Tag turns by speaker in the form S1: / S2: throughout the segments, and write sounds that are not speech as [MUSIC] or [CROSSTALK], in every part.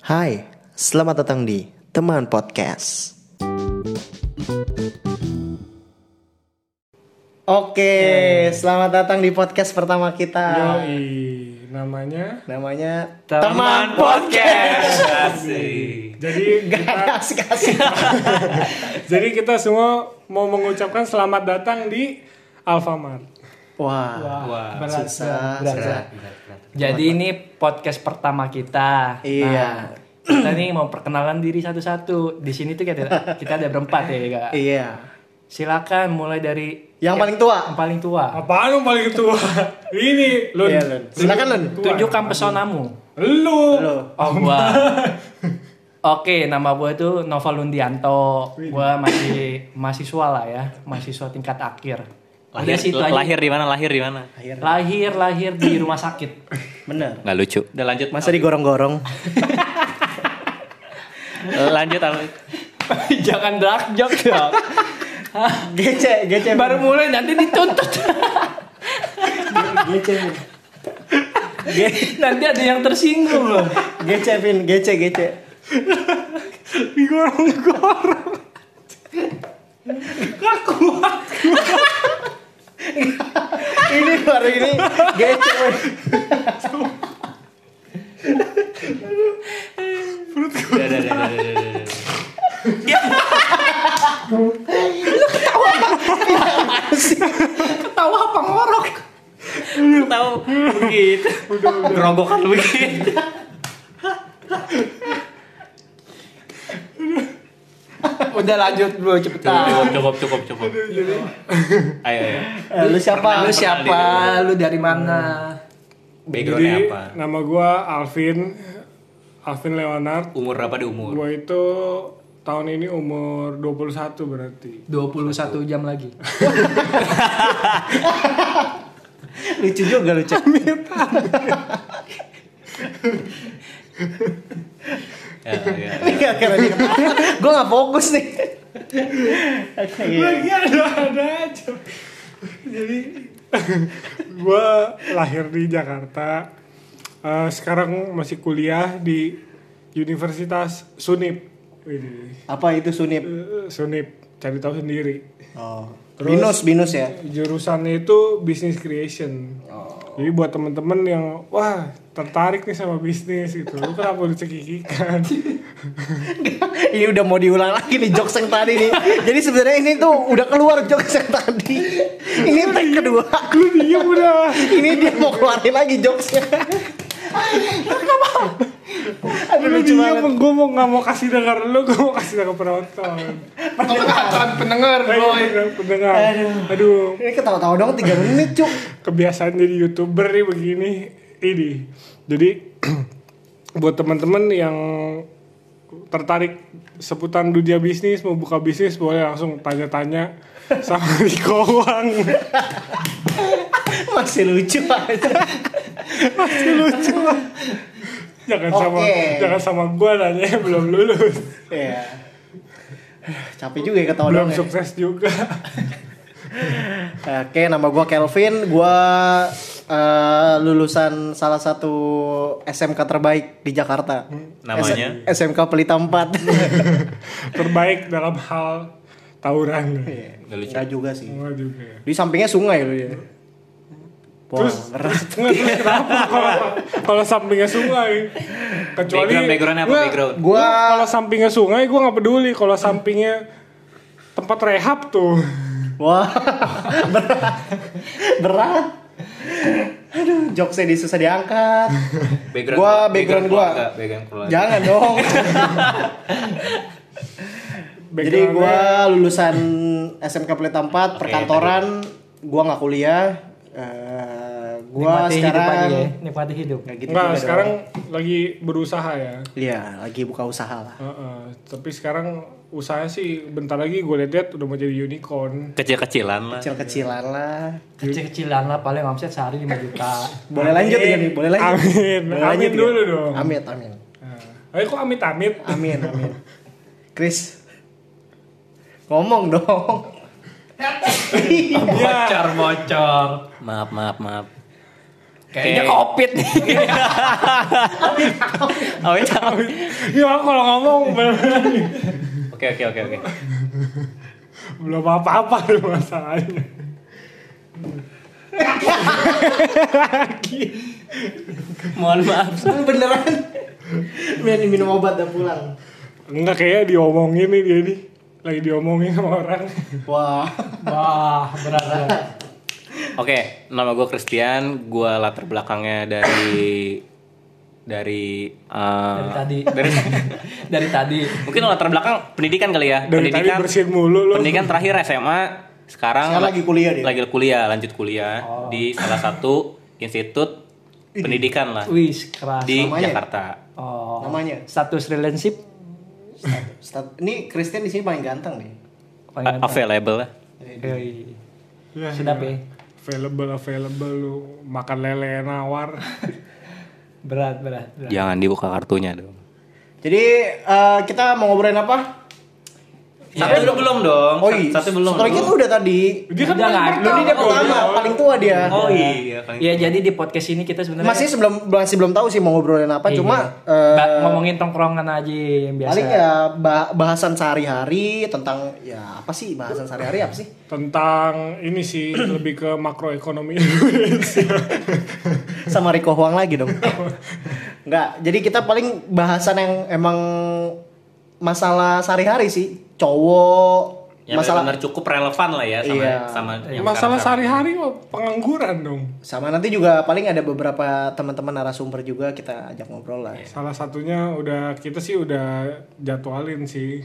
S1: Hai, selamat datang di Teman Podcast. Oke, selamat datang di podcast pertama kita.
S2: Yoi, namanya
S1: Namanya
S3: Teman podcast. Asik.
S2: jadi kita,
S1: Kasih-kasih.
S2: jadi kita semua mau mengucapkan selamat datang di Alfamart.
S1: Wah,
S3: Wah,
S2: berat,
S1: susah.
S2: berat,
S1: susah.
S2: berat.
S3: Jadi ini podcast pertama kita.
S1: Iya.
S3: Nah, kita nih mau perkenalan diri satu-satu. Di sini tuh kita kita ada berempat ya, Kak.
S1: Iya.
S3: Silakan mulai dari
S1: Yang paling tua.
S3: yang paling tua.
S2: Apaan lu paling tua? Ini lu.
S1: Iya, Lun. Silakan, Lun.
S3: Tunjukkan pesonamu.
S2: Lu.
S1: Lu.
S3: Oh, gua. Oke, nama gua itu Nova Lundianto. Gua masih mahasiswa lah ya, mahasiswa tingkat akhir. Udah
S4: lahir
S3: situ aja.
S4: lahir di mana lahir di mana
S3: lahir lahir di rumah sakit.
S1: Bener.
S4: nggak lucu udah lanjut
S1: Masa digorong-gorong?
S4: lanjut apa
S3: [LAUGHS] Jangan dark joke ya. dong.
S1: Gece, gece.
S3: Baru mulai nanti dituntut.
S1: Gece, Vin. Ge-
S3: nanti ada yang tersinggung loh.
S1: Gece, Vin. Gece, gece. Digorong-gorong. Ini baru ini gece. Vin.
S4: udah udah udah udah, udah, udah.
S3: Ketawa apa ngorok?
S4: Lu tahu begitu gerogokan begitu
S3: Udah lanjut bro cepetan.
S4: cukup Ah. cukup cukup cukup ayo ayo
S1: Eh, Lu siapa?
S3: Lu siapa? Lu dari mana?
S2: Jadi
S4: backgroundnya apa
S2: nama gua Alvin Alvin Leonard.
S4: umur berapa di umur
S2: Gua itu tahun ini umur 21 berarti.
S3: 21 jam lagi.
S1: Lucu juga lucu.
S4: ya, ya.
S1: Enggak karena dia. Gue gak fokus nih. Oke.
S2: Lagi ada-ada aja. Jadi gue lahir di Jakarta. Eh, sekarang masih kuliah di Universitas Sunip. Ini
S1: Apa itu Sunip?
S2: eh, Sunip cari tahu sendiri.
S1: Oh. binus, binus ya.
S2: Jurusannya itu business creation.
S1: Oh.
S2: Jadi buat temen-temen yang wah tertarik nih sama bisnis gitu, lu kenapa lu
S1: [LAUGHS]
S2: cekikikan?
S1: ini udah mau diulang lagi nih jokes yang tadi nih. Jadi sebenarnya ini tuh udah keluar jokes yang tadi. Ini tag kedua.
S2: lu diem udah.
S1: Ini dia mau keluarin lagi jokesnya. Aduh
S2: Lu
S1: lucu
S2: diem,
S1: banget.
S2: gue mau nggak mau kasih dengar lu, gue mau kasih dengar penonton.
S1: Oh,
S3: Pendengar, pendengar
S2: Aduh, pendengar.
S1: Aduh.
S2: Aduh,
S1: Ini ketawa-tawa dong 3 menit cuk.
S2: kebiasaan jadi youtuber nih begini. Ini. Jadi [CLEARS THROAT] buat teman-teman yang tertarik seputar dunia bisnis mau buka bisnis boleh langsung
S1: [LAUGHS]
S2: tanya-tanya sama Riko Wang.
S1: Masih lucu aja.
S2: jangan sama
S1: Oke.
S2: jangan sama gua nanya [LAUGHS] belum lulus,
S1: Iya. Aduh, Capek juga ya ketawa
S2: belum
S1: doang ya.
S2: sukses juga.
S1: [LAUGHS] Oke, nama gua Kelvin. Gua eh, lulusan salah satu SMK terbaik di Jakarta.
S4: Namanya?
S1: S- SMK Pelita 4.
S2: Terbaik dalam hal tawuran.
S1: Iya.
S4: Nggak lucu.
S1: Enggak juga sih.
S2: Semua juga.
S1: Di sampingnya sungai loh ya. Wah,
S2: Terus-
S1: berat.
S2: Nggak, terus kenapa kalau kalau sampingnya sungai? Kecuali
S4: background backgroundnya apa
S2: Nggak,
S4: background
S2: Gua
S1: Gua
S2: kalau sampingnya sungai gua nggak peduli kalau sampingnya tempat rehab tuh.
S1: wah berat. Berat. Aduh, jokesnya di susah diangkat.
S4: background
S1: gua background gua.
S4: keluarga, background keluarga
S1: Jangan
S4: [LAUGHS]
S1: dong. Jadi gua lulusan SMK Pelita 4 perkantoran, gua nggak kuliah. Eh, gua
S3: Nikmati hidup
S1: sekarang
S3: aja ya. Nikmati hidup.
S1: nggak gitu
S2: Enggak,
S1: juga
S2: sekarang
S1: dong.
S2: lagi berusaha ya.
S1: Iya, lagi buka usaha lah.
S2: Heeh, tapi sekarang usaha sih bentar lagi gue lihat udah mau jadi unicorn.
S4: kecil-kecilan lah
S1: Kecil-kecilan lah.
S3: Kecil-kecilan lah paling omset sehari 5 juta.
S1: Boleh lanjut ya nih, boleh lanjut.
S2: Amin.
S1: Boleh
S2: Amin
S1: lanjut ya?
S2: dulu dong.
S1: Amit, amin.
S2: Nah. Eh kok amit-amit? [LAUGHS]
S1: Amin, amin. Chris, ngomong dong.
S3: Bocor bocor.
S4: maaf maaf maaf
S3: [LAUGHS] Kayaknya covid nih.
S4: Oh,
S3: Awet
S4: iya.
S3: awet.
S2: Ya kalau ngomong bener-bener nih,
S4: Oke oke oke oke.
S2: [LAUGHS] belum apa-apa tuh masalahnya.
S3: Mohon maaf.
S1: beneran Min- minum obat dan pulang
S2: Enggak kayaknya diomongin nih dia nih. Lagi diomongin sama orang.
S1: wah
S3: Wah berat. [LAUGHS] berat.
S4: Oke, nama gue Christian, gue latar belakangnya dari dari eh,
S3: [LAUGHS] Dari tadi.
S4: dari
S3: Dari tadi.
S4: Mungkin latar belakang pendidikan kali ya.
S2: Dari tadi
S4: pendidikan.
S2: bersihin mulu lo.
S4: pendidikan terakhir SMA, sekarang
S1: Sekarang lagi kuliah dia. Oh.
S4: Lagi kuliah, lanjut kuliah di salah satu institut pendidikan lah
S3: Wis keras.
S4: di
S1: Namanya?
S4: Jakarta.
S3: Oh.
S1: [LAUGHS] namanya
S3: Status relationship.
S1: Stat- ini Christian di sini paling ganteng nih
S4: A- Available lah.
S3: Yoi.
S2: Ya,
S3: Sedap
S2: ya.
S3: ya.
S2: Available, available lu. Makan lele nawar.
S3: Berat berat. berat.
S4: Jangan dibuka kartunya dong.
S1: jadi eh, kita mau ngobrolin apa Iya.
S4: Satu dulu belum dong.
S1: oh iya
S4: Satu belum.
S1: story kita udah tadi
S2: [LAUGHS] Dia kan
S3: Udah lah,
S2: paling
S3: lu
S2: pertama.
S3: ini dia
S1: pertama paling tua dia
S4: Oh iya.
S3: Ya jadi di podcast ini kita sebenarnya
S1: masih sebelum masih belum tahu sih mau ngobrolin apa
S3: Iya.
S1: cuma eh,
S3: Ba- ngomongin tongkrongan aja yang biasa.
S1: paling ya bah- bahasan sehari-hari tentang ya apa sih bahasan sehari-hari apa sih
S2: Tentang ini [CLEARS THROAT] sih lebih ke makroekonomi [LAUGHS] Indonesia.
S1: sama Riko Huang lagi dong nggak jadi kita paling bahasan yang emang masalah sehari-hari sih cowok
S4: Ya,
S1: masalah
S4: benar cukup relevan lah ya sama
S1: Iya.
S4: sama yang
S2: Masalah
S4: sekarang-sekarang.
S2: sehari-hari mah pengangguran dong.
S1: sama nanti juga paling ada beberapa teman-teman narasumber juga kita ajak ngobrol lah
S2: Salah satunya udah kita sih udah jadwalin sih.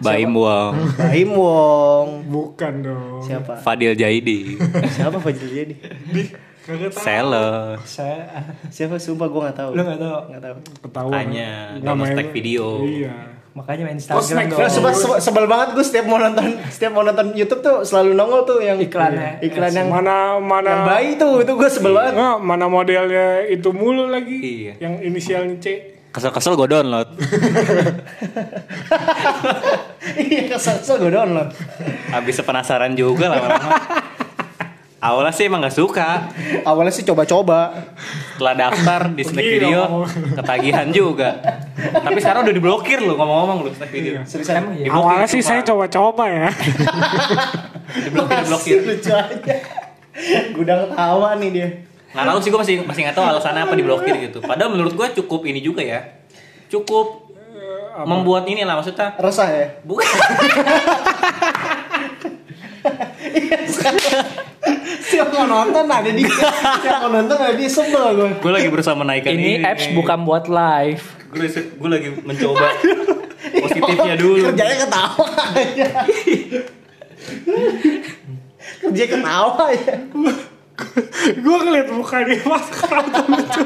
S4: Baim Wong,
S1: Baim Iya. Wong
S2: Bukan dong.
S1: siapa
S4: [LAUGHS] Fadil Jaidi,
S1: siapa Fajrul Jadi
S2: Di kagak tahu.
S4: Selo,
S3: Saya [LAUGHS]
S1: siapa sumpah gue nggak tahu
S3: Lu nggak tahu?
S1: nggak tahu
S2: Ketahuan.
S4: Tanya,
S2: Nggak
S4: download
S2: main-
S4: tag video.
S2: Iya.
S3: makanya main
S2: Oh,
S1: Nah,
S2: snack
S3: Instagram dong.
S1: sebel, sebel, sebel banget gue setiap mau nonton setiap mau nonton YouTube tuh selalu nongol tuh yang
S3: Iklannya.
S1: iklan yang
S2: Mana mana
S1: yang bayi tuh itu gue sebel banget [LAUGHS]
S2: Nggak, mana modelnya itu mulu lagi.
S4: Iya.
S2: Yang inisialnya C.
S4: Kesel-kesel gue download.
S1: iya kesel gue download
S4: Habis penasaran juga
S1: [LAUGHS]
S4: lama-lama. Awalnya sih emang gak suka.
S1: awalnya sih coba-coba
S4: Setelah daftar di Snack
S2: Gila,
S4: Video,
S2: ngomong.
S4: ketagihan juga. Tapi sekarang udah diblokir loh ngomong-ngomong loh Snack Video.
S1: seriusan
S3: Emang ya?
S4: Diblokir,
S2: Awalnya sih
S4: sumpah.
S2: saya coba-coba ya.
S4: diblokir, diblokir.
S1: Masih lucu aja gudang tawa nih dia
S4: Nggak tahu sih gue masih masih nggak tahu alasannya apa diblokir gitu. Padahal menurut gue cukup ini juga ya. Cukup membuat ini lah maksudnya
S1: resah ya
S4: bukan
S1: Iya, siapa mau nonton ada dia siapa mau nonton ada dia sebel gue
S4: gue lagi berusaha menaikkan ini,
S3: Ini apps bukan buat live.
S4: gue gue lagi mencoba positifnya dulu
S1: kerjanya ketawa aja kerja ketawa ya
S2: Gue ngeliat muka dia [LAUGHS] pas keraton lucu.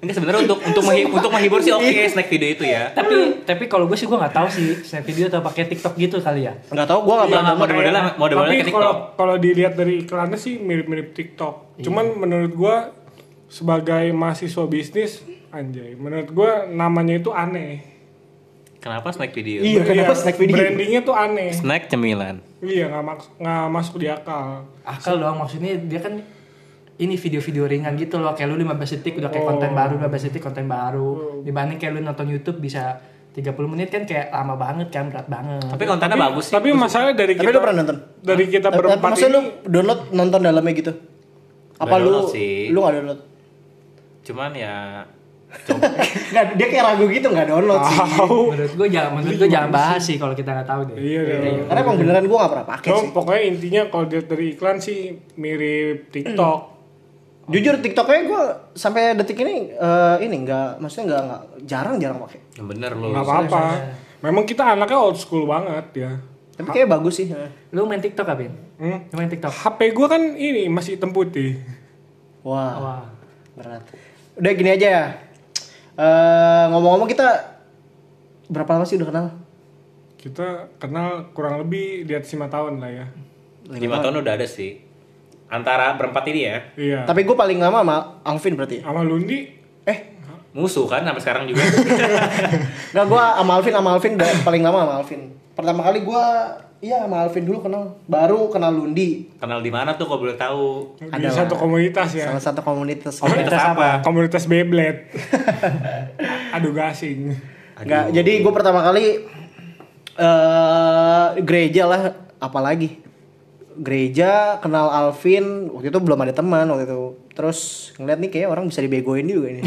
S4: ini sebenarnya untuk untuk menghi- untuk menghibur sih oke snack video itu ya
S3: Tapi tapi kalau gue sih gue nggak tahu sih snack video atau pakai TikTok gitu kali ya.
S1: nggak tahu gue nggak
S4: Iya,
S1: pernah
S4: model modelnya model modelnya
S2: Tapi
S4: ke TikTok.
S2: kalau kalau dilihat dari iklannya sih mirip-mirip TikTok.
S1: Iya.
S2: Cuman menurut gua sebagai mahasiswa bisnis anjay, menurut gua namanya itu aneh.
S4: Kenapa snack video?
S1: Iya, kenapa snack video?
S2: Brandingnya tuh aneh.
S4: Snack cemilan.
S2: Iya nggak maks- nggak masuk di akal.
S3: Akal doang maksudnya dia kan ini video-video ringan gitu loh kayak lu 15 detik udah kayak konten baru 15 detik konten baru dibanding kayak lu nonton YouTube bisa 30 menit kan kayak lama banget kan berat banget.
S4: Tapi kontennya bagus sih.
S2: Tapi masalahnya dari
S1: tapi
S2: kita
S1: lu pernah nonton
S2: dari
S1: Tapi-
S2: kita
S1: tapi
S2: berempat
S1: Eh, maksudnya
S2: ini
S1: lu download nonton dalamnya gitu apa
S4: Nggak
S1: lu
S4: download sih.
S1: lu nggak download [LAUGHS]
S4: Cuman ya
S1: nggak dia kayak ragu gitu nggak download sih
S4: Oh.
S2: tahu.
S3: menurut gue jangan menurut gue jangan bahas sih kalau kita nggak tahu deh.
S2: Iya dong.
S1: karena emang beneran gue nggak pernah pakai
S2: Cuma
S1: sih
S2: pokoknya intinya kalau dilihat dari iklan sih mirip TikTok.
S1: jujur tiktoknya gue sampai detik ini eh, ini nggak maksudnya nggak nggak jarang jarang pakai
S4: yang bener
S1: Iya,
S4: loh.
S2: Nggak apa-apa. Memang kita anaknya old school banget ya.
S1: tapi kayaknya bagus sih eh.
S3: Lu main TikTok Abin?
S2: Hmm.
S1: Iya.
S3: Lu main TikTok?
S2: HP gua kan ini masih hitam putih.
S1: wah
S3: Wah.
S1: berat udah gini aja ya Eh, ngomong-ngomong kita berapa lama sih udah kenal
S2: Kita kenal kurang lebih di atas 5 tahun lah ya.
S4: Lima tahun udah ada sih. Antara berempat ini ya.
S2: Iya.
S1: tapi gue paling lama sama Alvin berarti
S2: Sama Lundi
S1: eh
S4: Musuh kan sampai sekarang juga.
S1: nggak gue sama Alvin sama Alvin udah paling lama sama Alvin pertama kali gue Iya, sama Alvin dulu kenal. Baru kenal Lundi.
S4: Kenal di mana tuh kalau boleh tahu?
S2: Di
S1: Adalah.
S2: satu komunitas ya.
S1: Salah satu komunitas.
S4: Komunitas apa?
S2: Komunitas Beyblade. Aduh gasing.
S4: Aduh.
S1: Enggak, jadi gue pertama kali eh gereja lah, apalagi gereja kenal Alvin waktu itu belum ada teman waktu itu terus ngeliat nih kayak orang bisa dibegoin juga ini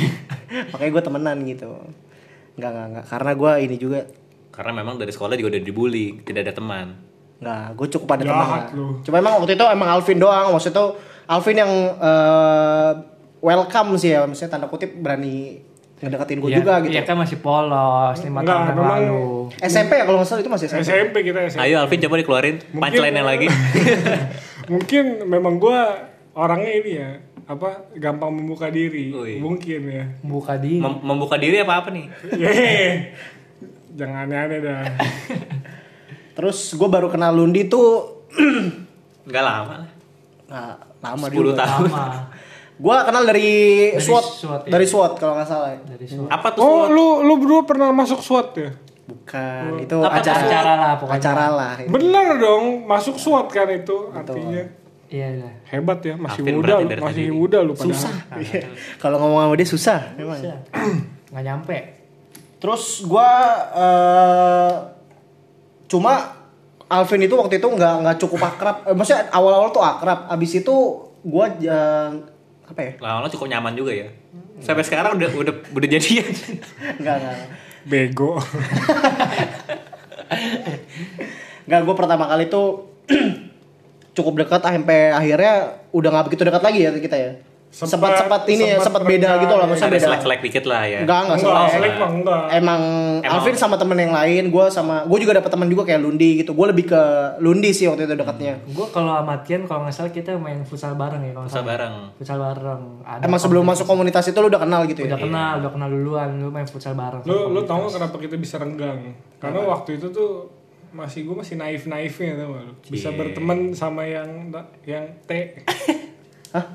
S1: makanya gue temenan gitu nggak nggak nggak karena gue ini juga
S4: Karena memang dari sekolah juga udah dibully, tidak ada teman.
S1: nggak gue cukup ada teman
S2: Jahat
S1: lah.
S2: lu.
S1: cuma emang waktu itu emang Alvin doang maksud itu Alvin yang eh, welcome sih ya maksudnya tanda kutip berani ngedeketin gue
S3: Iya,
S1: juga gitu
S3: Iya kan masih polos lima
S2: Enggak,
S3: tahun yang
S2: memang-
S3: lalu.
S1: SMP ya kalau nggak salah itu masih SMP
S2: SMP kita SMP.
S4: Ayo Alvin coba dikeluarin punchline-nya lagi.
S2: Mungkin memang gua orangnya ini ya apa gampang membuka diri
S4: Ui.
S2: mungkin ya.
S3: Buka di
S4: Mem- membuka diri apa apa nih?
S2: Yeay. Jangan aneh-aneh dah.
S1: Terus gue baru kenal Lundi tuh [CLEARS THROAT]
S4: Enggak lama lah.
S1: nah, lama
S4: 10
S1: juga.
S4: tahun.
S3: lama.
S1: Gue kenal dari,
S3: Dari
S1: SWOT,
S3: SWOT, ya.
S1: dari SWOT kalau nggak salah.
S3: Dari suara.
S4: Apa tuh?
S2: Oh,
S4: Swot?
S2: lu lu berdua pernah masuk SWAT ya?
S1: Bukan, itu
S4: Apa
S1: acara,
S4: tuh?
S3: Acara lah pokoknya.
S1: Acara lah. iya.
S2: [LAUGHS] Bener dong, masuk SWAT kan itu artinya.
S3: Iya [CLEARS THROAT] udah.
S2: Hebat ya, masih
S4: Alvin
S2: muda
S4: berarti
S2: lu,
S4: dari
S2: masih
S4: tadi.
S2: muda lu padahal.
S1: Susah. Iya. kalau ngomong sama dia susah, memang.
S3: Bisa. Nggak nyampe.
S1: Terus gue cuma Alvin itu waktu itu nggak nggak cukup akrab. Eh, maksudnya awal-awal tuh akrab. Abis itu gue apa ya? [LAUGHS]
S4: Lama-lama cukup nyaman juga ya. Sampai sekarang udah udah udah jadian.
S1: Nggak nggak.
S2: Bego.
S1: Enggak, gue pertama kali tuh [CLEARS THROAT] cukup dekat ah, sampai akhirnya udah nggak begitu dekat lagi ya kita ya.
S2: Sempat-
S1: Sempat sempat ini ya, sempat
S2: sempat
S1: beda
S2: rendah,
S1: gitu lah,
S2: ya.
S1: maksudnya
S4: Ada
S1: beda.
S4: selek-selek dikit lah ya.
S1: Enggak, enggak
S2: Enggak,
S1: selek.
S2: selek mah enggak.
S1: Emang,
S4: Emang-
S1: Alvin sama temen yang lain, gue sama gue juga dapet temen juga kayak Lundi gitu. Gue lebih ke Lundi sih waktu itu dekatnya.
S3: Gue kalau amatian kalau nggak salah kita main futsal bareng ya kalau nggak
S4: Usah
S3: salah.
S4: bareng.
S3: Futsal bareng. Ada
S1: Emang sebelum masuk komunitas itu lu udah kenal gitu ya?
S3: udah kenal, udah kenal duluan, lu main futsal bareng.
S2: lu lu tau gak kenapa kita bisa renggang karena waktu itu tuh masih gue masih naif naifnya tau gak lu bisa
S4: Cie.
S2: berteman sama yang yang T
S1: Hah?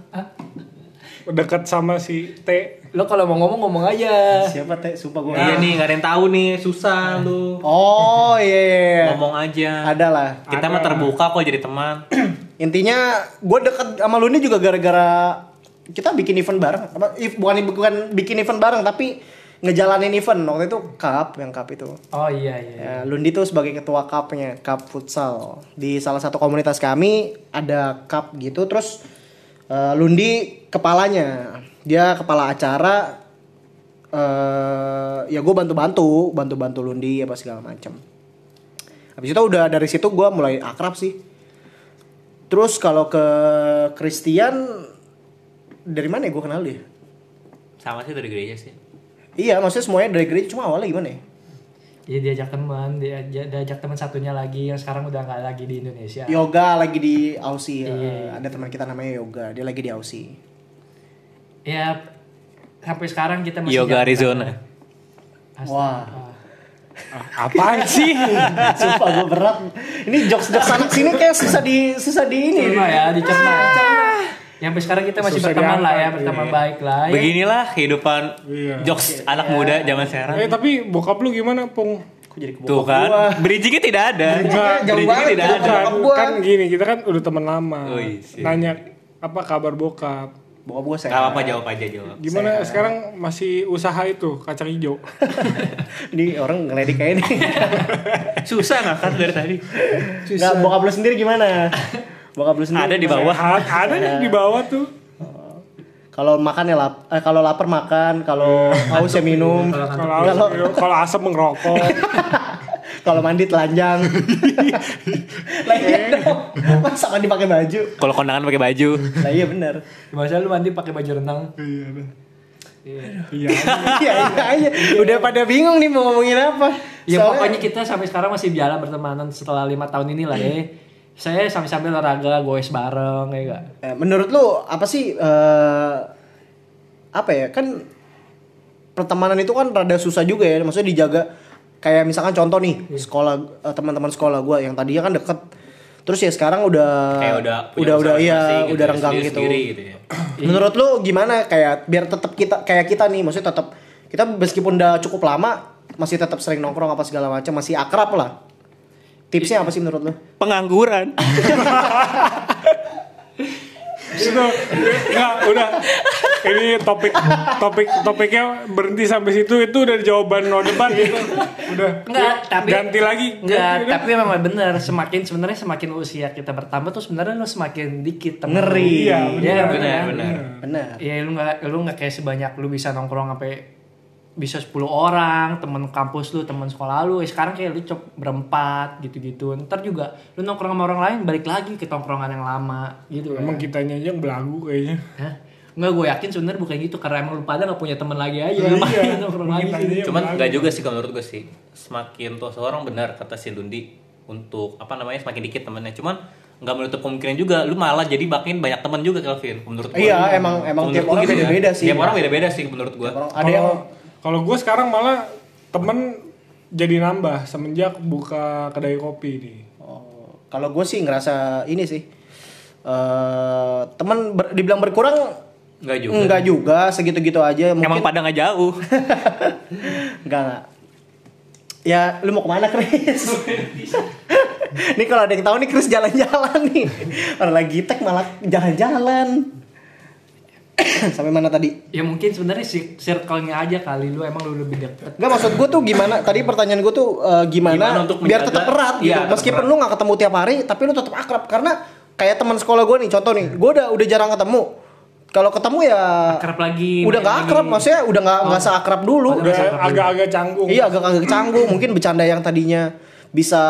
S2: dekat sama si T
S3: Lo kalau mau ngomong ngomong aja.
S1: Siapa teh? Sumpah gue.
S4: Iya nih, nggak ada yang tahu nih, susah lu.
S1: Oh iya, iya, iya.
S4: Ngomong aja.
S1: Ada lah.
S4: Kita mah terbuka kok jadi teman.
S1: Intinya gue deket sama Lundi juga gara-gara kita bikin event bareng. Apa, if, bukan bukan bikin event bareng tapi ngejalanin event waktu itu cup yang cup itu.
S3: Oh iya iya.
S1: Ya, Lundi tuh sebagai ketua cupnya cup futsal di salah satu komunitas kami ada cup gitu terus eh, Lundi kepalanya dia kepala acara eh ya gue bantu-bantu bantu-bantu Lundi apa segala macam. Habis itu udah dari situ gue mulai akrab sih. Terus kalau ke Christian dari mana ya gue kenal dia?
S4: Sama sih dari gereja sih.
S1: Iya, maksudnya semuanya dari gereja cuma awalnya gimana ya?
S3: Iya diajak teman, dia dia- diajak teman satunya lagi yang sekarang udah nggak lagi di Indonesia.
S1: Yoga lagi di Aussie. eh, Ada teman kita namanya Yoga, dia lagi di Aussie.
S3: Ya sampai sekarang kita masih
S4: Yoga
S3: jalan.
S4: Arizona.
S3: Astaga.
S1: Wah.
S2: Ah, apaan sih
S1: [LAUGHS] Sumpah gue berat. Ini jokes-jokes anak sini kayak susah di susah di ini.
S3: Dicerna ya, dicerna. Ya, sampai sekarang kita masih
S2: Susah
S3: berteman lah ya,
S2: diangkat,
S3: berteman baik lah. Ya,
S4: Beginilah kehidupan
S2: Iya.
S4: jokes anak muda zaman sekarang.
S2: eh tapi bokap lu gimana pung
S1: Kok jadi ke
S4: Tuh
S1: bokap
S4: kan,
S1: gua?
S4: bridgingnya tidak ada.
S1: Bridgingnya jauh banget,
S4: tidak
S1: jauh banget.
S2: kan,
S4: ada.
S1: Ya, bokap gua.
S2: kan gini kita kan udah teman lama
S4: Oh, isi.
S2: nanya apa kabar bokap
S1: Bokap gue
S4: Gak
S1: sehat.
S4: apa-apa jawab aja jawab.
S2: gimana sekarang masih usaha itu kacang hijau
S1: Ini orang ngeledek kayak ini.
S4: Susah ngangkat dari tadi.
S1: Nggak, bokap lu sendiri gimana? Bokap lu sendiri.
S4: Ada di bawah.
S2: Sehat, ada yang di bawah tuh
S1: Kalau makan ya lap, eh, kalau lapar makan, kalau haus ya minum,
S2: kalau
S1: kalau
S2: kalau asam ngerokok
S1: [LAUGHS] kalau mandi telanjang. Lah iya dong. Masa mandi pakai baju?
S4: Kalau kondangan pakai baju.
S1: Lah iya benar.
S3: Masa lu mandi pakai baju renang?
S2: iya dah. iya
S3: Iya.
S1: [LAUGHS] Iya iya iya. Udah pada bingung nih mau ngomongin apa.
S3: Ya
S1: Soalnya-
S3: pokoknya kita sampai sekarang masih jalan bertemanan setelah lima tahun ini lah ya. Saya sambil-sambil olahraga, goes bareng ya enggak.
S1: Eh, menurut lu apa sih eh, apa ya kan pertemanan itu kan rada susah juga ya maksudnya dijaga kayak misalkan contoh nih
S4: Iya.
S1: sekolah eh, teman-teman sekolah gua yang tadinya kan deket terus ya sekarang udah
S4: Kayak udah punya
S1: udah udah
S4: usaha
S1: iya
S4: masing-masing
S1: udah
S4: gitu,
S1: renggang gitu.
S4: sendiri-sendiri gitu ya.
S1: Menurut lu gimana kayak biar tetap kita kayak kita nih maksudnya tetap kita meskipun udah cukup lama masih tetap sering nongkrong apa segala macam masih akrab lah. Tipsnya apa sih menurut lo?
S4: Pengangguran.
S2: itu nggak udah ini topik topik topiknya berhenti sampai situ itu udah jawaban no debat itu udah
S3: Nggak, tapi-
S2: ganti lagi
S3: Enggak, tapi memang bener semakin sebenarnya semakin usia kita bertambah tuh sebenarnya lu semakin dikit temen.
S1: Ngeri.
S2: Iya,
S3: Iya,
S2: bener.
S3: bener.
S4: benar, benar.
S1: Benar.
S3: Iya, lu nggak lu nggak kayak sebanyak lu bisa nongkrong sampai bisa 10 orang, temen kampus lu, temen sekolah lu. Eh, sekarang kayak lu cop berempat gitu-gitu. Ntar juga lu nongkrong sama orang lain balik lagi ke tongkrongan yang lama gitu.
S2: emang kitanya aja yang belagu kayaknya
S3: Hah? Enggak, gue yakin sebenarnya bukan gitu karena emang lu pada nggak punya temen lagi aja.
S2: iya.
S3: [LAUGHS] Makanya nongkrong lagi.
S2: kitanya
S1: Iya,
S2: yang
S4: Cuman
S2: belagu.
S4: nggak juga sih kalau menurut gue sih. Semakin tua seorang benar kata si Lundi untuk apa namanya semakin dikit temennya. Cuman nggak menutup kemungkinan juga lu malah jadi makin banyak teman juga Kelvin menurut gue.
S1: Iya, emang- emang tiap orang beda-beda sih.
S4: ya. Tiap orang beda-beda sih menurut gue.
S1: Orang ada yang
S2: kalau kalau gue sekarang malah temen jadi nambah semenjak buka kedai kopi nih
S1: Oh, kalau gue sih ngerasa ini sih eh teman ber- dibilang berkurang
S4: Nggak juga.
S1: enggak juga segitu-gitu aja
S4: Emang
S1: Hmm, mungkin
S4: pada nggak jauh.
S1: [LAUGHS] enggak enggak. Ya, lu mau kemana,
S4: [LAUGHS]
S1: Chris? nih kalau ada yang tahu nih Chris jalan-jalan nih. Orang lagi tek malah jalan-jalan. [COUGHS] Sampai mana tadi?
S3: Ya mungkin sebenarnya si- circle-nya aja kali lu emang lu lebih deket.
S1: Enggak maksud gue tuh gimana? Tadi pertanyaan gue tuh eh,
S4: Gimana
S1: gimana,
S4: untuk
S1: biar
S4: menjaga-
S1: tetap erat gitu.
S4: Iya, tetap
S1: Meskipun
S4: erat.
S1: lu nggak ketemu tiap hari, tapi lu tetap akrab karena kayak teman sekolah gue nih, contoh nih, gue udah udah jarang ketemu. Kalau ketemu ya
S3: Akrab lagi.
S1: udah nggak
S3: main lagi.
S1: akrab, maksudnya udah nggak
S4: Oh.
S1: nggak seakrab dulu.
S2: udah agak-agak canggung
S1: Iya agak-agak canggung, mungkin bercanda yang tadinya bisa,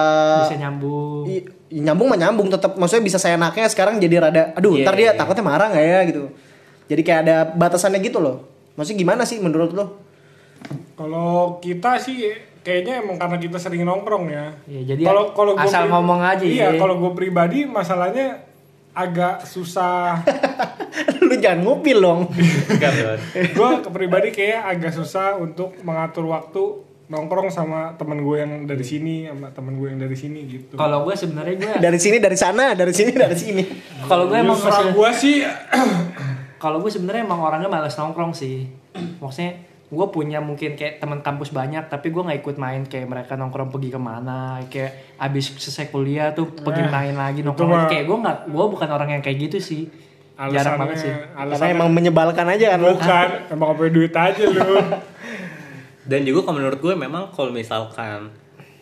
S3: bisa nyambung.
S1: i- nyambung mah nyambung tetap, maksudnya bisa seenaknya sekarang jadi rada, aduh
S4: Iya,
S1: ntar dia
S4: iya, iya.
S1: takutnya marah nggak ya gitu. Jadi kayak ada batasannya gitu loh. Maksudnya gimana sih menurut lo? [LAUGHS]
S2: Kalau kita sih kayaknya emang karena kita sering nongkrong ya.
S3: Iya, jadi
S2: gua pri-
S3: asal ngomong aja
S2: Iya,
S3: ya.
S2: kalau gue pribadi masalahnya agak
S3: [LAUGHS]
S2: susah.
S1: lu jangan ngupil dong.
S4: [LAUGHS] Nggak, Bro.
S2: gue ke pribadi kayak agak susah untuk mengatur waktu nongkrong sama temen gue yang dari sini sama temen gue yang dari sini gitu.
S3: Iya. Kalau gue sebenarnya gue
S1: dari sini, dari sana, dari sini, dari sini.
S3: kalau gue emang masih-
S2: gue sih
S3: kalau gue sebenarnya emang orangnya malas nongkrong sih [CLEARS THROAT] maksudnya gue punya mungkin kayak teman kampus banyak tapi gue nggak ikut main kayak mereka nongkrong pergi kemana kayak abis selesai kuliah tuh pergi main lagi nongkrong lagi.
S2: mah-
S3: kayak gue nggak gue bukan orang yang kayak gitu sih [LAUGHS]
S2: alasannya,
S3: jarang banget sih
S1: Karena
S2: alasannya
S1: emang menyebalkan aja kan lo.
S2: bukan emang apa duit aja lu. [LAUGHS]
S4: Dan juga kalau menurut gue memang kalau misalkan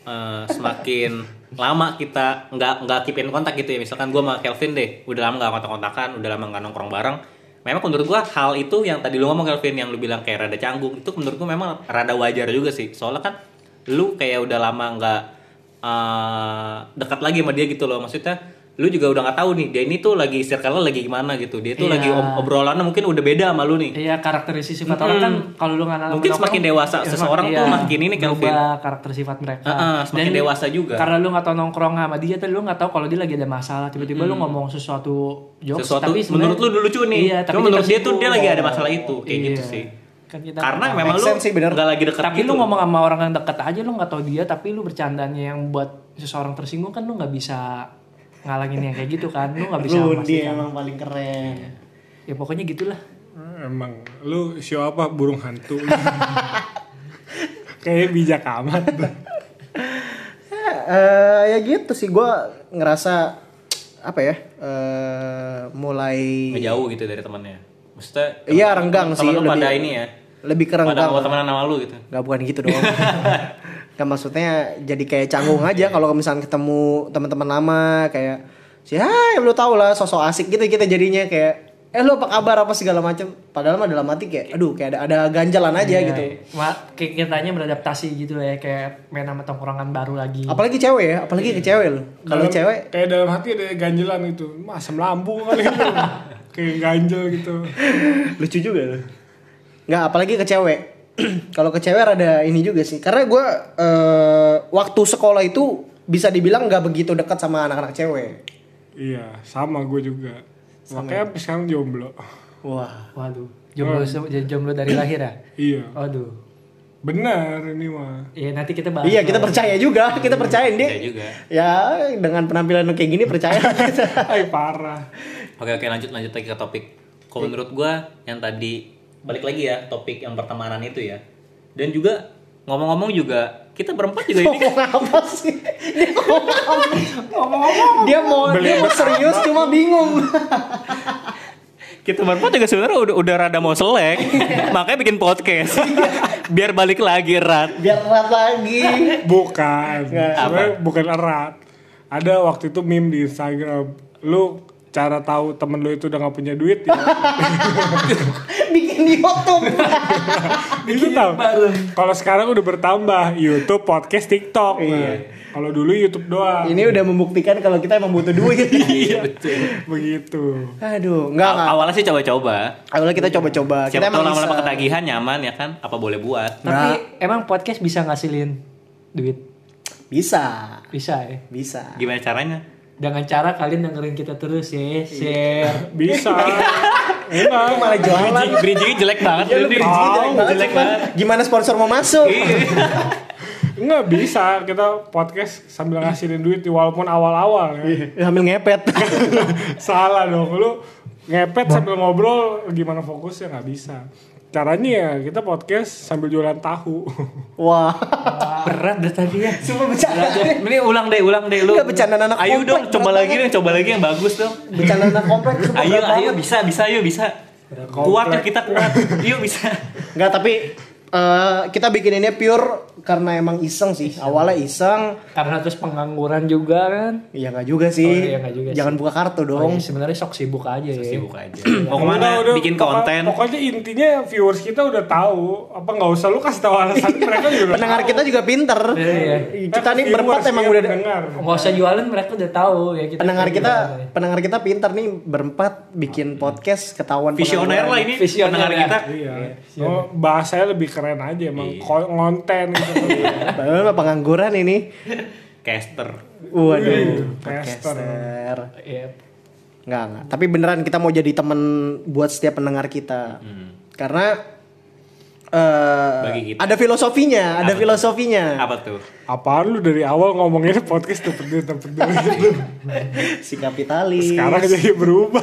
S4: eh, semakin lama kita nggak nggak keep in kontak gitu ya misalkan gue sama Kelvin deh udah lama nggak kontak-kontakan udah lama nggak nongkrong bareng memang menurut gue hal itu yang tadi lu ngomong Kelvin yang lu bilang kayak rada canggung itu menurut gue memang rada wajar juga sih soalnya kan lu kayak udah lama nggak eh, dekat lagi sama dia gitu loh maksudnya lu juga udah nggak tahu nih dia ini tuh lagi circle lagi gimana gitu dia tuh
S3: Iya.
S4: lagi ob- obrolannya mungkin udah beda sama lu nih
S3: Iya karakteristik sifat orang kan kalau lu nggak
S4: Hmm. Mungkin
S3: nongkrong,
S4: semakin dewasa
S3: ya,
S4: seseorang
S3: semakin-
S4: tuh
S3: iya,
S4: makin ini, Kelvin.
S3: berubah karakter sifat mereka.
S4: Heeh, semakin dewasa juga.
S3: Karena lu nggak tau nongkrong sama dia, tuh lu nggak tau kalau dia lagi ada masalah. Tiba-tiba lu ngomong sesuatu jokes,
S4: Hmm. sesuatu
S3: tapi
S4: menurut
S3: sebenarnya-
S4: lu lucu nih
S3: Iya, tapi
S4: cuma menurut dia tuh
S3: tersinggung.
S4: dia lagi ada masalah itu kayak
S3: Iya.
S4: gitu sih
S3: Kan kita
S4: karena
S3: nggak
S4: memang
S1: Make
S4: lu
S1: sense sih, bener.
S4: nggak lagi
S3: tahu.
S4: dekat
S3: tapi
S4: gitu.
S3: lu ngomong sama orang yang deket aja lu nggak tau dia, tapi lu bercandanya yang buat seseorang tersinggung kan lu nggak bisa ngalangin yang kayak gitu kan, lu nggak bisa
S1: Rundi
S3: memastikan.
S1: emang paling keren.
S3: Ya pokoknya gitulah.
S2: Emang lu show apa burung
S3: [LAUGHS]
S2: hantu? Kayaknya bijak amat.
S1: Ya, eh, ya gitu sih gue ngerasa apa ya eh, mulai
S4: ngejauh gitu dari temannya maksudnya
S1: Iya, renggang
S4: temen
S1: sih,
S4: lu
S1: lebih-
S4: pada ini ya
S1: lebih ke
S4: pada
S1: renggang.
S4: mau temenan sama lu gitu
S1: nggak bukan gitu
S4: [LAUGHS]
S1: dong nggak maksudnya jadi kayak canggung
S4: Iya,
S1: aja kalau misalnya ketemu teman-teman lama kayak sih hai lu tau lah sosok asik gitu kita jadinya kayak eh lu apa kabar apa segala macem padahal mah dalam hati kayak aduh kayak ada ada ganjalan aja
S4: Iya,
S1: gitu
S3: Ma, kayak kitanya beradaptasi gitu lah ya, kayak main sama tongkrongan baru lagi.
S1: apalagi cewek ya apalagi
S4: Iya.
S1: ke cewek lu kalau
S2: Dalam-
S1: cewek
S2: kayak dalam hati ada ganjelan gitu. Asam lambung kali gitu. kayak ganjel gitu.
S1: lucu juga ya. lu nggak apalagi ke cewek [CLEARS THROAT] kalau ke cewek rada ini juga sih karena gue waktu sekolah itu bisa dibilang nggak begitu dekat sama anak-anak cewek
S2: Iya, sama gue juga. Makanya sampai sekarang jomblo.
S1: wah
S3: Waduh, jomblo se- jomblo dari lahir ya?
S2: Iya.
S3: Waduh.
S2: Benar ini mah. [LAUGHS]
S3: Iya, nanti kita bahas.
S1: iya kita percaya juga kita percaya
S4: ya
S1: deh
S4: juga
S1: ya dengan penampilan lu kayak gini [LAUGHS] percaya
S2: Ay parah.
S4: oke oke lanjut lanjut lagi ke topik kalau
S1: Iya.
S4: menurut gua yang tadi balik lagi ya topik yang pertemanan itu ya dan juga ngomong-ngomong juga kita berempat juga
S1: [LAUGHS]
S4: ini
S1: Ngomong apa sih? Dia ngomong apa? Dia mau dia mau serius cuma bingung.
S4: kita berempat juga sebenarnya udah, udah rada mau selek
S1: Iya.
S4: makanya bikin podcast [LAUGHS] biar balik lagi rat
S1: Biar erat lagi.
S2: Bukan. Sebenarnya bukan erat. Ada waktu itu meme di Instagram. Lu cara tahu temen lu itu udah gak punya duit ya. [LAUGHS]
S1: Bikin [LAUGHS] YouTube.
S2: itu tahu. Kalau sekarang udah bertambah YouTube, podcast, TikTok. Nah, Kalau dulu YouTube doang.
S1: Ini udah membuktikan kalau kita emang butuh duit.
S2: Begitu.
S1: Aduh, enggak enggak.
S4: awalnya sih coba-coba
S1: Awalnya kita coba-coba. Kita
S4: siapa tahu
S1: emang
S4: lama-lama
S1: bisa.
S4: ketagihan nyaman ya kan apa boleh buat
S3: Tapi emang podcast bisa ngasilin duit?
S1: Bisa.
S3: Bisa ya.
S1: Bisa.
S4: gimana caranya
S3: Dengan cara kalian dengerin kita terus ya, [LAUGHS] share.
S1: [LAUGHS]
S2: Bisa. Enggak.
S1: Lu malah jualan.
S4: bridging bridging jelek banget
S1: Iya, lu
S4: ini.
S1: bridging jelek banget,
S4: jelek
S1: cuman
S4: banget
S1: Gimana sponsor mau masuk?
S2: Enggak bisa. Kita podcast sambil ngasilin duit walaupun awal-awal ya.
S1: [LAUGHS] Sambil ngepet. [LAUGHS]
S2: Salah dong lu
S1: Nah.
S2: ngepet sambil ngobrol gimana fokusnya nggak bisa. Caranya ya kita podcast sambil jualan tahu.
S1: Wah.
S3: Berat dah tadi ya.
S1: Cuma
S3: [LAUGHS]
S1: bercanda.
S4: ini ulang deh ulang deh lu
S1: Enggak, Iya, bercandaan anak
S4: ayo
S1: komplek,
S4: dong coba
S1: berat
S4: lagi dong coba lagi yang bagus dong
S1: Bercanda anak komplek. sumpah
S4: ayo
S1: berat
S4: ayo
S1: banget.
S4: bisa bisa ayo bisa kuat yuk kita kuat yuk
S1: [LAUGHS]
S4: bisa
S1: Enggak, tapi eh, kita bikin ini pure karena emang iseng sih. Awalnya iseng.
S3: Karena terus pengangguran juga kan.
S1: Ya enggak juga sih.
S3: Oh, iya, nggak juga
S1: Jangan buka kartu
S3: Oh,
S1: dong.
S3: iya, sebenarnya sok sibuk aja ya.
S4: sibuk aja mau
S2: Udah,
S4: kemana
S2: udah,
S4: bikin
S2: pokok-
S4: konten
S2: Pokoknya intinya viewers kita udah tahu apa nggak usah lu kasih tahu alasan mereka juga. udah
S1: Iya. Pendengar
S2: tahu.
S1: kita juga pinter.
S3: Iya, iya.
S1: Kita nih
S2: Viewers,
S1: berempat
S2: iya,
S1: emang udah Oh,
S2: pendengar.
S3: Nggak usah jualan mereka udah tahu ya kita.
S1: pendengar kita
S3: gimana ya.
S1: pendengar kita pinter nih berempat bikin podcast ketahuan
S4: visioner lah ini
S3: Visioner
S4: pendengar
S3: ya.
S4: kita
S2: Iya. Oh, bahasanya lebih keren aja emang
S4: Iya.
S2: Ko- konten gitu.
S1: Padahal mah pengangguran ini.
S4: caster Iya,
S1: Waduh,
S2: Podcaster.
S1: podcaster.
S3: [LAUGHS] Iya.
S1: Enggak, enggak. Tapi beneran kita mau jadi temen buat setiap pendengar kita. Karena eh,
S4: Hmm. Bagi kita.
S1: ada filosofinya, ada
S4: Apa tuh?
S1: filosofinya.
S4: apa tuh
S2: Apaan lu dari awal ngomongin podcast tuh peduli
S1: [LAUGHS]
S2: peduli.
S1: Si kapitalis.
S2: Sekarang jadi berubah.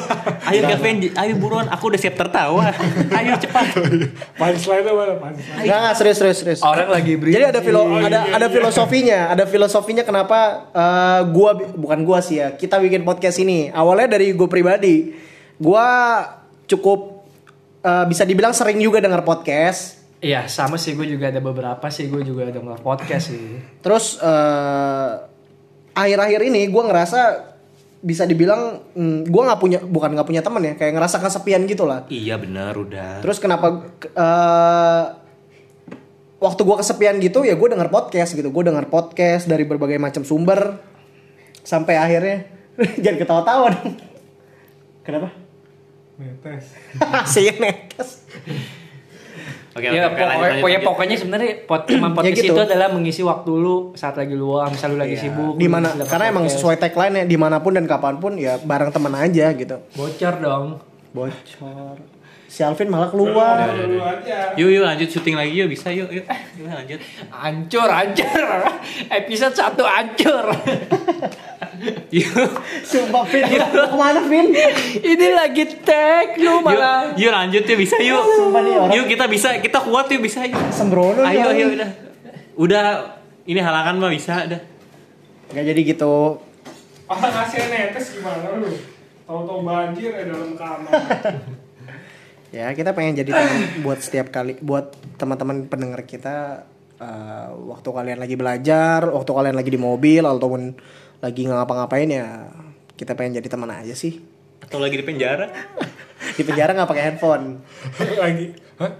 S4: ayo Kevin j- ayo buruan aku udah siap
S1: [LAUGHS]
S4: tertawa ayo cepat
S2: Punchline tuh mana punchline?
S1: Enggak, enggak, serius, serius, serius.
S4: Oh,
S3: Orang lagi beri.
S1: Jadi ada filo
S4: iya,
S1: ada ada filosofinya, ada filosofinya kenapa eh, gua bi- bukan gua sih ya, kita bikin podcast ini. Awalnya dari gua pribadi. Gua cukup eh, bisa dibilang sering juga denger podcast.
S3: Iya sama sih gue juga ada beberapa sih gue juga ada denger podcast sih.
S1: Terus eh, akhir-akhir ini gue ngerasa bisa dibilang hmm, gue nggak punya bukan nggak punya temen ya kayak ngerasa kesepian gitu lah.
S4: iya benar udah
S1: Terus kenapa ke- eh, waktu gue kesepian gitu ya gue denger podcast gitu gue denger podcast dari berbagai macam sumber sampai akhirnya [LAUGHS] jangan ketawa-tawa dong. Kenapa? [LAUGHS]
S2: Netes.
S1: Saya netes.
S4: oke
S3: Ya,
S4: oke, Iya, lanjut,
S3: pokoknya,
S4: lanjut,
S3: pokoknya-
S4: lanjut.
S3: pokoknya sebenarnya pod, cuman podcast
S1: gitu.
S3: itu adalah mengisi waktu lu saat lagi luang, misal lu lagi sibuk.
S1: Di mana?
S3: lu lagi
S1: Karena emang
S3: podcast.
S1: sesuai tagline ya dimanapun dan kapanpun ya bareng teman aja gitu.
S3: bocor dong.
S1: Bocor. Si Alvin malah keluar.
S2: Lu aja.
S4: yuk yuk lanjut syuting lagi yuk bisa yuk yuk Yuk, lanjut [LAUGHS]
S3: Ancur, ancur. [LAUGHS] Episode 1 ancur.
S4: yuk
S1: Sumpah Vin, mau kemana Vin?
S3: [LAUGHS] Ini lagi tag
S4: yuk,
S3: lu malah.
S4: yuk lanjut yuk bisa yuk
S1: Sumpah nih orang.
S4: yuk kita bisa kita kuat yuk bisa yuk
S1: Sembrono nih
S4: ayo
S1: orang.
S4: ayo udah udah ini halangan mah bisa udah
S1: Nggak jadi gitu.
S2: Orang ngasih Ah, netes gimana lu? Tahu-tahu banjir ya dalam
S1: [LAUGHS]
S2: kamar.
S1: Ya kita pengen jadi teman buat setiap kali buat teman-teman pendengar kita eh, waktu kalian lagi belajar, waktu kalian lagi di mobil ataupun lagi nggak ngapa-ngapain ya kita pengen jadi teman aja sih. [LAUGHS]
S4: atau lagi di penjara
S1: Di penjara nggak pakai handphone.
S2: Lagi. Hah?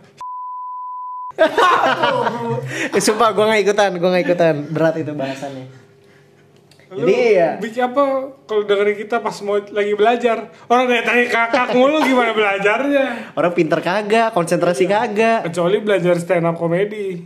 S1: Eh, Sumpah gue nggak ikutan, gue nggak ikutan. Berat itu bahasannya.
S2: Lu
S1: Jadi ya
S2: bikin apa kalau dengerin kita pas mau lagi belajar orang dari tanya kakak mulu gimana belajarnya
S1: orang pinter kagak, konsentrasi kagak.
S2: kecuali belajar stand up komedi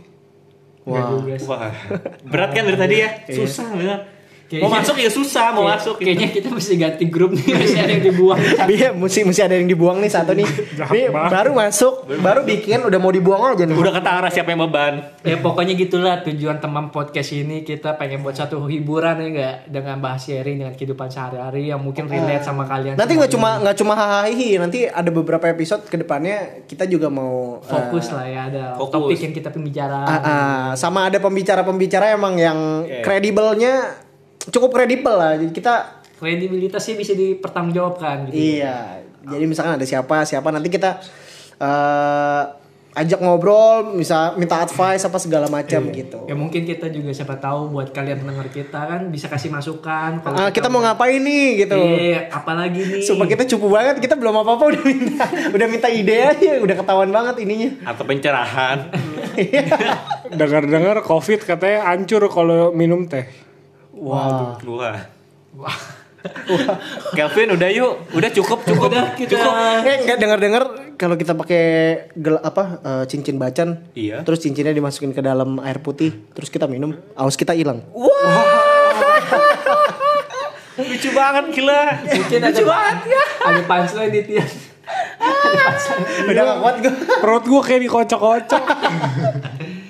S1: Wah.
S4: wah berat kan dari tadi ya susah bener mau masuk ya susah mau masuk gitu.
S3: Kayaknya kita mesti ganti grup nih, [LAUGHS] masih ada yang dibuang.
S1: [LAUGHS] Dia mesti mesti ada yang dibuang nih satu nih.
S2: [LAUGHS] Jahat
S1: Ini
S2: banget.
S1: baru masuk, baru bikin udah mau dibuang aja nih.
S4: udah kata arah siapa yang beban
S3: ya pokoknya gitulah tujuan teman podcast ini kita pengen buat satu hiburan ya enggak dengan bahas sharing dengan kehidupan sehari-hari yang mungkin relate sama kalian.
S1: Nanti
S3: semua.
S1: nggak cuma nggak cuma hahaha, nanti ada beberapa episode kedepannya kita juga mau eh,
S3: fokus lah ya ada
S4: Fokus.
S3: topik yang kita pembicaraan.
S1: ah, ah, sama ada pembicara-pembicara emang yang kredibelnya cukup kredibel lah. Jadi kita
S3: Kredibilitasnya bisa dipertanggungjawabkan gitu.
S1: iya. Jadi misalkan ada siapa siapa nanti kita eh, ajak ngobrol, misal minta advice apa segala macam
S2: Iya.
S1: gitu.
S3: Ya mungkin kita juga siapa tahu buat kalian pendengar kita kan bisa kasih masukan kalau
S1: Ah, kita mau ngapain nih gitu.
S2: Iya.
S3: eh, apalagi nih.
S1: Sumpah kita cupu banget, kita belum apa-apa udah minta udah minta ide aja, udah ketahuan banget ininya. [LAUGHS]
S4: atau pencerahan
S2: Dengar-dengar COVID katanya hancur kalau minum teh.
S1: Wow.
S4: gua Kelvin udah yuk udah cukup cukup
S3: Udah, kita-
S4: cukup
S1: Eh enggak dengar-dengar kalau kita pakai gel apa eh, cincin bacan,
S4: Iya.
S1: terus cincinnya dimasukin ke dalam air putih, terus kita minum, aus kita hilang.
S4: lucu banget gila
S3: mungkin ada [LAUGHS] Ada punchline di tiap. ada punchline.
S1: Udah gak kuat gue,
S2: Perut gua kayak dikocok-kocok.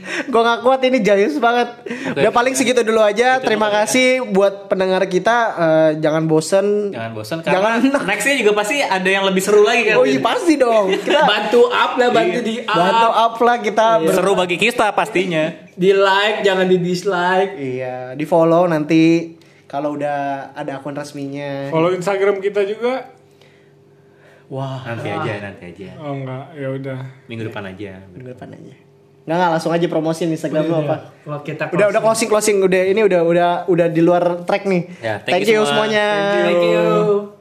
S1: gue gak kuat ini jayus banget. Udah paling segitu dulu aja. Terima kasih buat pendengar kita, eh, jangan bosen.
S4: jangan bosan karena nextnya juga pasti ada yang lebih seru lagi kan
S1: Oh iya pasti dong. Kita Iya.
S3: Bantu up lah, bantu di up.
S1: bantu up lah kita. ber-
S4: seru bagi kita pastinya
S3: Di like, jangan di dislike.
S1: Iya, di follow nanti kalau udah ada akun resminya.
S2: Follow Instagram kita juga.
S1: Wah,
S4: nanti aja nanti aja
S2: Oh enggak, ya udah.
S4: minggu depan aja
S1: bener pananya. Nggak nggak langsung aja promosiin Instagram lu apa?
S3: Kalau kita
S1: Udah udah closing closing udah ini udah udah udah di luar track nih.
S4: Ya, thank you semua.
S1: semuanya.
S3: Thank you.